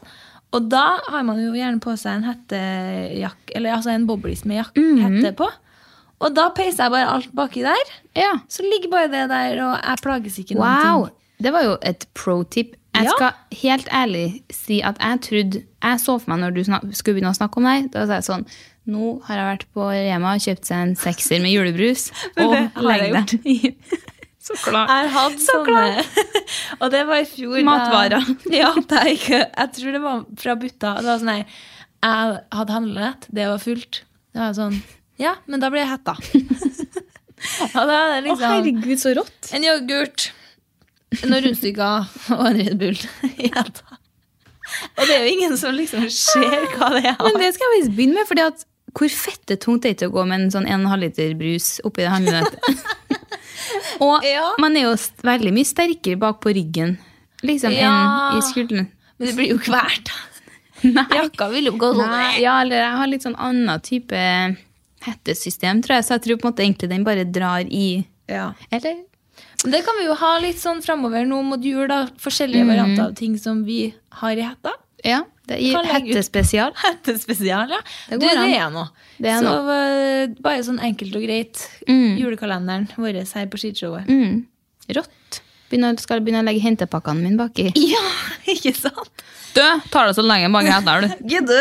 Og da har man jo gjerne på seg en hettejakk, eller altså en boblis med jakk, hette på. Og da peiser jeg bare alt baki der.
Ja.
Så ligger bare det der, og jeg plages ikke
Wow!
noen ting.
Det var jo et pro-tip. Jeg
Ja.
skal helt ærlig si at jeg trodde Jeg så for meg når du snak, skulle begynne å snakke om deg, da sa jeg sånn Nå har jeg vært på Rema og kjøpt seg en sekser med [LAUGHS] julebrus.
Men
og
det har jeg
legger den i- [LAUGHS] Så klart.
Jeg har hatt sånne [LAUGHS] Og det var i fjor. da-
Matvarer.
[LAUGHS] ja, det er ikke Jeg tror det var fra Butta. Det var sånn her Jeg hadde handlenett, det var fullt. Det var sånn Ja, men da blir jeg hetta. Og da er det liksom
så rått.
En yoghurt, noen rundstykker og en Red Bull [LAUGHS] i hetta. Og det er jo ingen som liksom ser hva det er.
Men det skal jeg faktisk begynne med, fordi at hvor fettetungt det er ikke å gå med en sånn 1,5 liter brus oppi det [LAUGHS] handlenettet. og
Ja.
man er jo st- veldig mye sterkere bak på ryggen liksom,
Ja.
enn i skulderen.
Men det blir jo hvert.
[LAUGHS] Nei.
Jakka vil jo gå
Nei, ja, eller jeg har litt sånn annen type hettesystem, tror jeg. Så jeg tror på en måte egentlig den bare drar i
Ja.
Eller?
Men Det kan vi jo ha litt sånn framover nå mot jul. da, Forskjellige varianter av ting som vi har i [LAUGHS] hetta.
Ja. Det
Kan
er
legge ut.
hettespesial.
Hettespesial, ja. Det,
Det går
du, det
an.
er Mm. noe.
Det er
Så eh, bare sånn enkelt og greit. Julekalenderen vår her på skishowet.
Mm. Rått. Begynner, skal begynne å legge hentepakkene mine baki.
[LAUGHS] Ja, ikke sant?
Du, tar [LAUGHS] det så lenge mange hetter, du.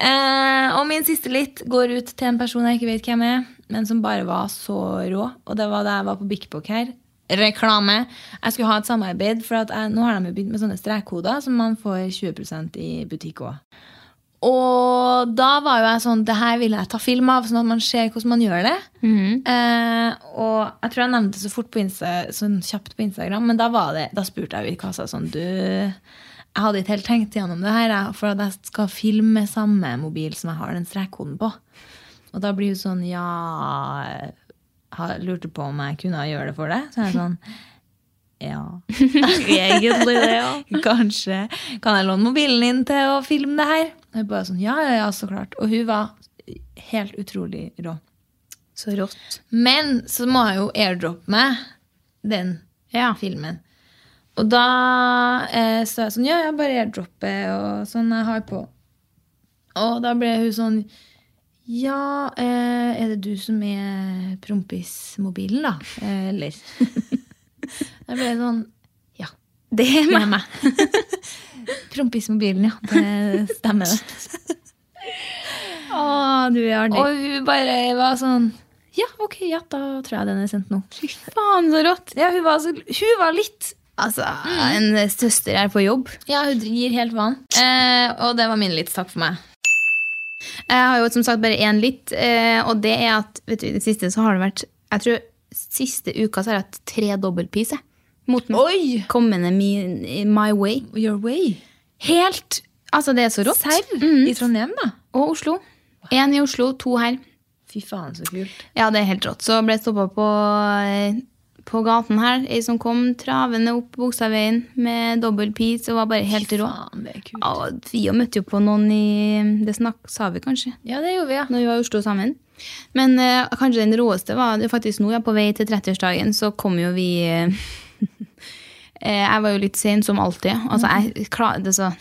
Eh, og min siste litt går ut til en person jeg ikke vet hvem er, men som bare var så rå. Og det var da jeg var på Bik Bok her. Reklame. Jeg skulle ha et samarbeid, for at jeg, nå har de jo begynt med sånne strekkoder som man får 20 i butikk òg. Og da var jo jeg sånn Det her vil jeg ta film av, sånn at man ser hvordan man gjør det.
Mhm.
eh, og jeg tror jeg nevnte det så fort på Insta, sånn kjapt på Instagram, men da, var det, da spurte jeg jo i kassa sånn Du, jeg hadde ikke helt tenkt gjennom det her, jeg, for at jeg skal filme med samme mobil som jeg har den strekkoden på. Og da blir hun sånn Ja, jeg har- lurte på om jeg kunne gjøre det for deg. Så er jeg sånn Ja.
[LAUGHS] Egentlig det, ja.
[LAUGHS] Kanskje kan jeg låne mobilen din til å filme det her? Og jeg bare sånn, ja, ja, ja, så klart. Og hun var helt utrolig rå.
Så rått.
Men så må jeg jo airdroppe meg den
Ja.
filmen. Og da eh, så er jeg sånn, ja, jeg bare airdropper og sånn jeg har på. Og da ble hun sånn Ja, eh, er det du som er prompis-mobilen, da? Eh, Eller? [LAUGHS] da ble jeg sånn Ja,
Det er
det
meg.
er meg. prompis-mobilen, ja. Det stemmer, det.
Å, du er artig.
Og hun bare var sånn Ja, ok, ja, da tror jeg den er sendt nå.
Fy faen, så rått.
Ja, hun var, så, hun var litt
Altså,
Mm.
en søster er på jobb.
Ja, hun gir helt vann.
Eh, og det var min litt takk for meg. Jeg har jo som sagt bare én litt, eh, og det er at vet du, i det siste så har det vært Jeg tror siste uka så har jeg hatt tre dobbeltpis, jeg. Mot meg.
Oi!
Kommende my, my way.
Your way. Mhm.
Helt Altså, det er så rått.
Serr? I Trondheim, da?
Og Oslo. Én i Oslo, to her.
Fy faen, så kult.
Ja, det er helt rått. Så ble jeg stoppa på, eh, på gaten her. Ei som kom travende opp Bogstadveien med dobbel pis og var bare helt rå.
Faen, det er kult.
Ja, og vi jo møtte jo på noen i Det snakk, sa vi kanskje,
Ja, det gjorde vi, ja.
når vi var i Oslo sammen. Men eh, kanskje den råeste var det faktisk nå, ja, på vei til 30-årsdagen, så kom jo vi eh, [LAUGHS] eh, Jeg var jo litt sen, som alltid. Altså,
Mhm.
jeg klar, det, så,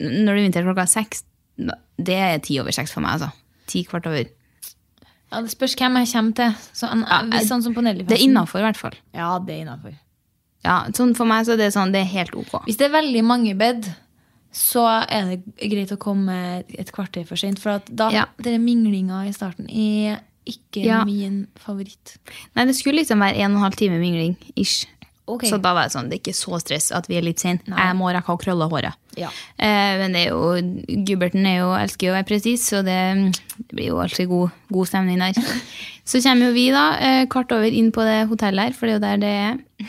Når det er vinter klokka seks, det er ti over seks for meg, altså. Ti kvart over.
Ja, Det spørs hvem jeg kommer til. Sånn, hvis sånn som på
Det er innafor, i hvert fall.
Ja, det er innafor.
Ja, sånn for meg så er det sånn, det er helt ok.
Hvis det er veldig mange bed, så er det greit å komme et kvarter for sent. For at da
Ja.
dere minglinga i starten er ikke
Ja.
min favoritt.
Nei, det skulle liksom være en og en halv time mingling, ish.
Ok.
Så da var det sånn, det er ikke så stress at vi er litt sen. Jeg må rekke å krølle håret.
Ja.
Eh, men det er jo, Gubberten er jo, elsker jo å være presis, så det, det blir jo alltid god, god stemning
[LAUGHS]
der. så kommer jo vi da, eh, kvart over inn på det hotellet her, for det er jo der det er.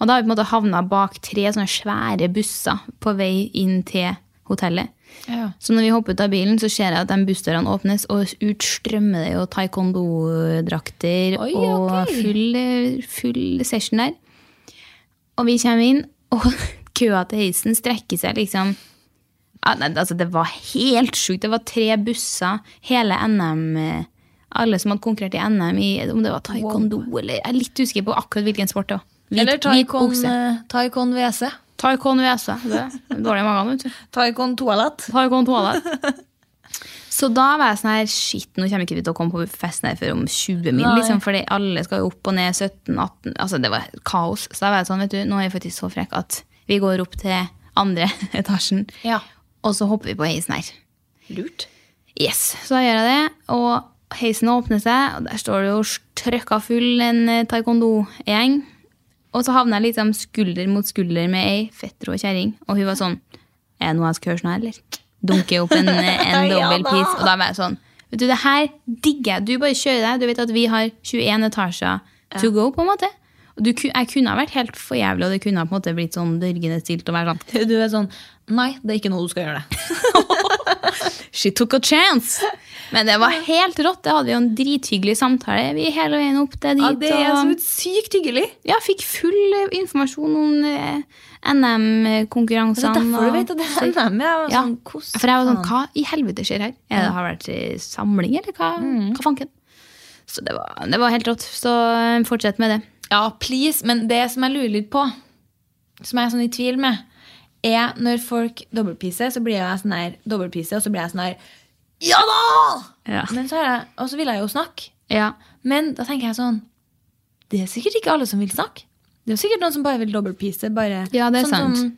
Og da har vi på en måte havnet bak tre sånne svære busser på vei inn til hotellet.
Ja.
Så når vi hopper ut av bilen, så ser jeg at de bussdørene åpnes, og ut strømmer det jo taekwondo-drakter
Oi,
og
ok.
full, full session der. Og vi kommer inn, og [LAUGHS] køa til heisen strekker seg liksom Ja, nei, Altså, det var helt sjukt. Det var tre busser, hele NM eh, Alle som hadde konkurrert i NM i om det var taekwondo eller Jeg er litt usikker på akkurat hvilken sport det var. Hvit-
Eller
hvit
Taikon, eh,
bukse.
taikon E. WC.
Taekwondo USA. Det er dårlig i magen, vet du.
Taikon toalett.
Taikon toalett. [LAUGHS] Så da var jeg sånn her Shit, nå kommer ikke vi til å komme på festen her før om 20 min.
Nei.
Liksom, fordi alle skal jo opp og ned 17-18. Altså, det var kaos. Så da var jeg sånn, vet du, nå er jeg faktisk så frekk at vi går opp til andre [LAUGHS] etasjen,
Ja.
og så hopper vi på heisen her.
Lurt.
Yes, så da gjør jeg det, og heisen åpner seg, og der står det jo trøkka full en eh, taekwondo-gjeng. Og så havner jeg liksom skulder mot skulder med ei fetter og kjerring, og hun var sånn, er det noe jeg skal gjøre sånn her, eller? Dunker opp en, eh, en double piece, og da var jeg sånn, vet du, det her digger jeg, du bare kjører deg, du vet at vi har 21 etasjer to go, på en måte. Og du, ku- jeg kunne ha vært helt for jævlig, og det kunne ha på en måte blitt sånn dørgende stilt og vært sånn,
[LAUGHS] Du er sånn Nei, det er ikke noe du skal gjøre. det. [LAUGHS]
She took a chance! Men det var helt rått. Det hadde vi jo en drithyggelig samtale vi hele veien opp til dit. og,
sykt hyggelig.
ja, fikk full eh, informasjon om eh,
Det er
NM-konkurransene.
derfor du vet at det er NM. Jeg var
Ja,
sånn, hvordan
for jeg var sånn,
faen?
hva i helvete skjer her? Er det har vært eh, samling, eller hva,
Mm.
hva fanken? Så det var, det var helt rått. Så eh, fortsett med det.
Ja, please. Men det som jeg lurer litt på, som jeg er sånn i tvil med, er når folk dobbeltpiser, så blir jeg sånn her dobbeltpise, og så blir jeg sånn her Ja da!
Ja.
Men så er jeg, og så vil jeg jo snakke.
Ja,
Men da tenker jeg sånn Det er sikkert ikke alle som vil snakke. Det er sikkert noen som bare vil dobbeltpise. Bare,
Ja, det er
Sånn
sant.
Som,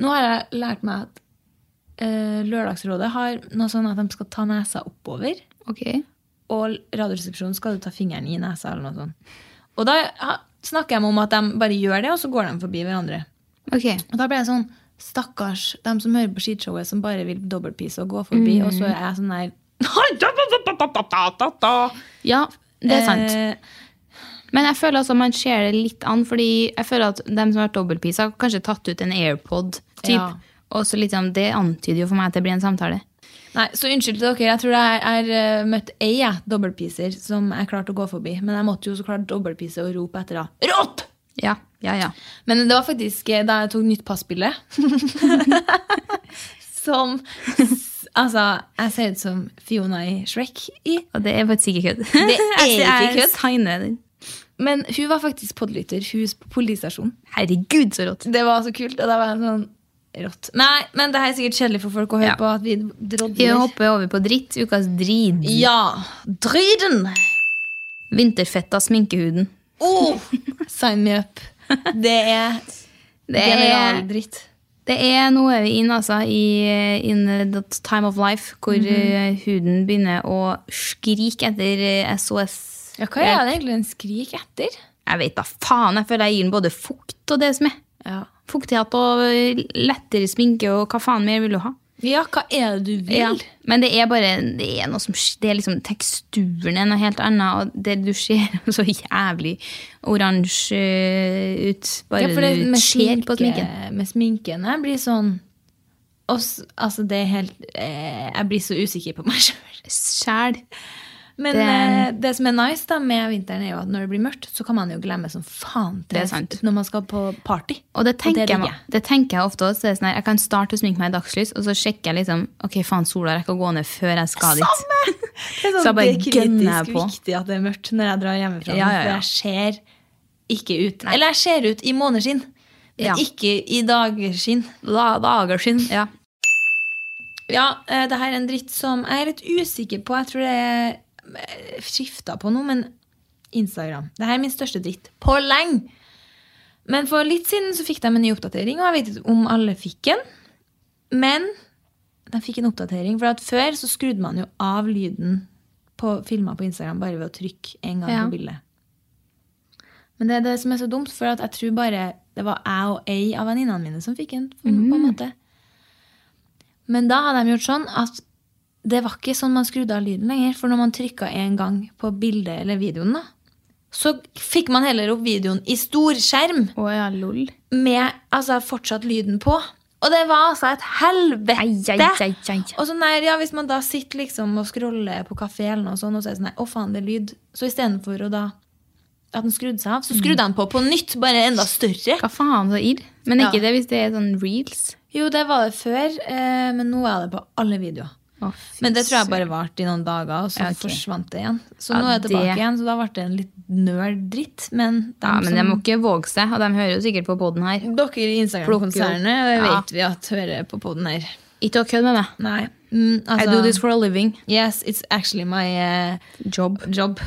nå har jeg lært meg at eh, Lørdagsrådet har noe sånn at de skal ta nesa oppover.
ok.
Og radioresepsjonen skal du ta fingeren i nesa eller noe sånt. Og da ha- snakker jeg om at de bare gjør det, og så går de forbi hverandre.
Ok.
Og da ble jeg sånn, stakkars, de som hører på skishowet som bare vil dobbeltpise og gå forbi, og så er jeg sånn der, [LAUGHS]
Ja, det er sant.
eh,
Men jeg føler altså man ser det litt an, fordi jeg føler at dem som har vært dobbeltpisa, har kanskje tatt ut en AirPod. Typ.
Ja.
Og så liksom, Det antyder jo for meg at det blir en samtale.
Nei, så unnskyld til dere, jeg tror jeg har eh, møtt ei jeg, dobbeltpiser som jeg klarte å gå forbi, men jeg måtte jo så klart dobbeltpise og rope etter da. Rått!
Ja, ja, ja.
Men det var faktisk eh, da jeg tok nytt passbilde. [LAUGHS] som s- Altså, jeg ser ut som Fiona i Shrek. I.
Og det er faktisk ikke kødd. [LAUGHS]
Det er ikke kødd.
Tegner den.
Men hun var faktisk podlytter. Hun er på politistasjonen.
Herregud, så rått.
Det var så kult. Og da var jeg sånn rått. Nei, men det her er sikkert kjedelig for folk å høre
Ja.
på at vi
Vi
drodler.
hopper over på dritt. Ukas drid.
Ja. Dryden!
Vinterfett av sminkehuden.
Oh, sign me up. [LAUGHS] Det er
Det er,
generaldritt.
det er noe vi inn altså, i in the time of life, hvor eh, huden begynner å skrike etter eh, SOS.
Ja, hva er det egentlig den skriker etter?
Jeg vet da faen. Jeg føler jeg gir den både fukt og det som er. Fuktighet og eh, lettere sminke og hva faen mer vil du ha?
Ja, hva er det du vil?
Ja. Men det er bare det er noe som, sk- det er liksom teksturen er noe helt annet, og det du ser så jævlig oransje eh, ut. Bare
Ja, for det
du
med
ser på
sminke-
sminken.
Med sminken jeg blir sånn og s- altså det er helt eh, Jeg blir så usikker på meg [LAUGHS] sjøl.
Sjæl.
Men det, eh,
Det-
det som er nice da med vinteren, er jo at når det blir mørkt, så kan man jo glemme som faen til
Det er sant.
når man skal på party.
Og det tenker,
digger
jeg, det tenker jeg ofte også. Det er sånn her, jeg kan starte å sminke meg i dagslys, og så sjekker jeg liksom Ok, faen, sola rekker å gå ned før jeg skal dit.
Det er,
Så jeg bare gønner
kritisk
jeg på.
viktig at det er mørkt når jeg drar hjemmefra.
Ja, ja, ja.
For jeg ser ikke ut. Eller jeg ser ut i måneskinn, men
Ja.
ikke i dagerskinn. Da, dagerskinn.
[LAUGHS] Ja.
Ja, eh, det her er en dritt som jeg er litt usikker på. Jeg tror det er skifta på noe, men Instagram. Det her er min største dritt på lenge. Men for litt siden så fikk de en ny oppdatering, og jeg vet ikke om alle fikk den. Men de fikk en oppdatering, for at før så skrudde man jo av lyden på filmer på Instagram bare ved å trykke en gang
Ja.
på bildet. Men det er det som er så dumt, for at jeg tror bare det var jeg og ei av venninnene mine som fikk den. på- på
Mm.
en måte. Men da hadde de gjort sånn at det var ikke sånn man skrudde av lyden lenger. For når man trykka en gang på bildet eller videoen, da, så fikk man heller opp videoen i storskjerm
Å ja, lol.
med altså, fortsatt lyden på. Og det var altså et helvete!
Ai, ai, ai, ai.
Og sånn der, ja, Hvis man da sitter liksom og scroller på kafé, eller noe sånn, og så er det sånn der, å faen, det er lyd. Så istedenfor å da at den skrudde seg
Mm.
av, så skrudde han på på nytt, bare enda større.
Hva faen, så irr. Men
Ja.
ikke det hvis det er sånn reels.
Jo, det var det før, eh, men nå er det på alle videoer.
Å, fy
Men det tror jeg bare varte i noen dager, og så
Ja, ok.
forsvant det igjen. Så
Ja,
nå er jeg tilbake
det-
igjen, så da ble det en litt nerd dritt. Men, dem
Ja, men de
som-
må ikke våge seg, og de hører jo sikkert på poden her.
dere i Instagram-konsernet det
Ja.
vet vi at hører på poden her.
Ikke å kødde med meg.
Nei. Mm,
I
altså,
do this for a living.
Yes, it's actually my eh,
Job.
job.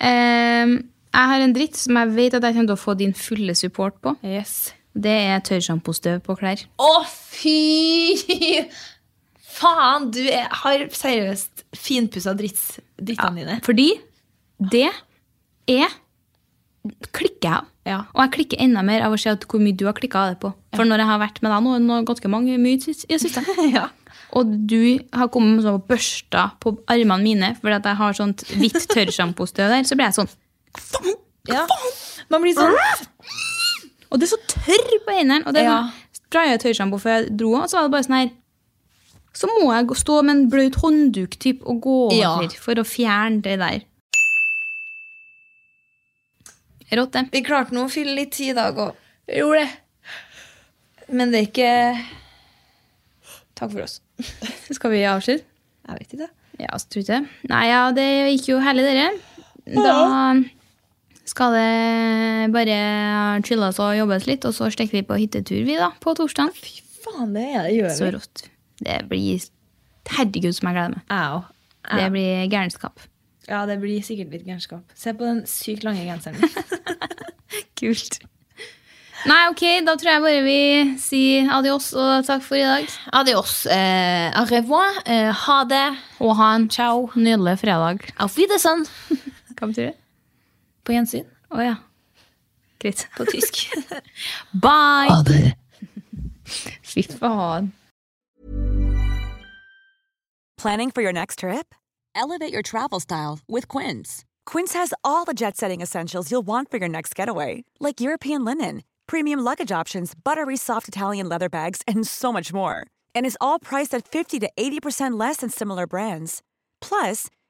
Ehm, jeg har en dritt som jeg vet at jeg kommer til å få din fulle support på.
Yes.
Det er tørrsjampostøv på klær.
Å, fy faen! Du er, har seriøst finpussa dritts, drittene dine.
Fordi det er klikker jeg av.
Ja.
Og jeg klikker enda mer av å se at hvor mye du har klikka av det på. For når jeg har vært med deg nå, nå er det ganske mange mye i det siste. [LAUGHS]
[LAUGHS] Ja.
Og du har kommet med sånn børsta på armene mine fordi at jeg har sånt hvitt tørrsjampostøv der, så blir jeg sånn.
Ja. Man blir sånn
Og det er så tørr på hendene. Og det er
Ja.
sånn, spraya jeg tørrsjampo før jeg dro, og så var det bare sånn her Så må jeg gå- stå med en bløt håndduk typ, og gå
Ja.
over for å fjerne det der. Rått, det.
Vi klarte nå å fylle litt tid i dag òg. Gjorde det. Men det er ikke Takk for oss. [LAUGHS]
Skal vi avslutte?
Jeg vet ikke.
Ja, så tror jeg det. Nei, ja, det gikk jo herlig, dere. Da skal det bare chilles og jobbes litt, og så stikker vi på hyttetur, vi, da, på torsdag.
Faen, det er det gjør
Så rått. Det blir Herregud, som jeg gleder meg.
Au.
Det blir gærenskap.
Ja, det blir sikkert litt gærenskap. Se på den sykt lange genseren min.
Kult. Nei, ok, da tror jeg bare vi sier adios og takk for i dag.
[LAUGHS] Adios. Eh, au revoir. Eh, ha det.
Og ha en Ciao. nydelig fredag.
Auf Wiedersehen.
Hva betyr det?
På gjensyn.
Å ja. Greit. På tysk. [LAUGHS] Bye! Fy faen.
Planning for your next trip? Elevate your travel style with Quince. Quince has all the jet setting essentials you'll want for your next getaway, like European linen, premium luggage options, buttery soft Italian leather bags, and so much more. And is all priced at 50 to 80% less than similar brands. Plus,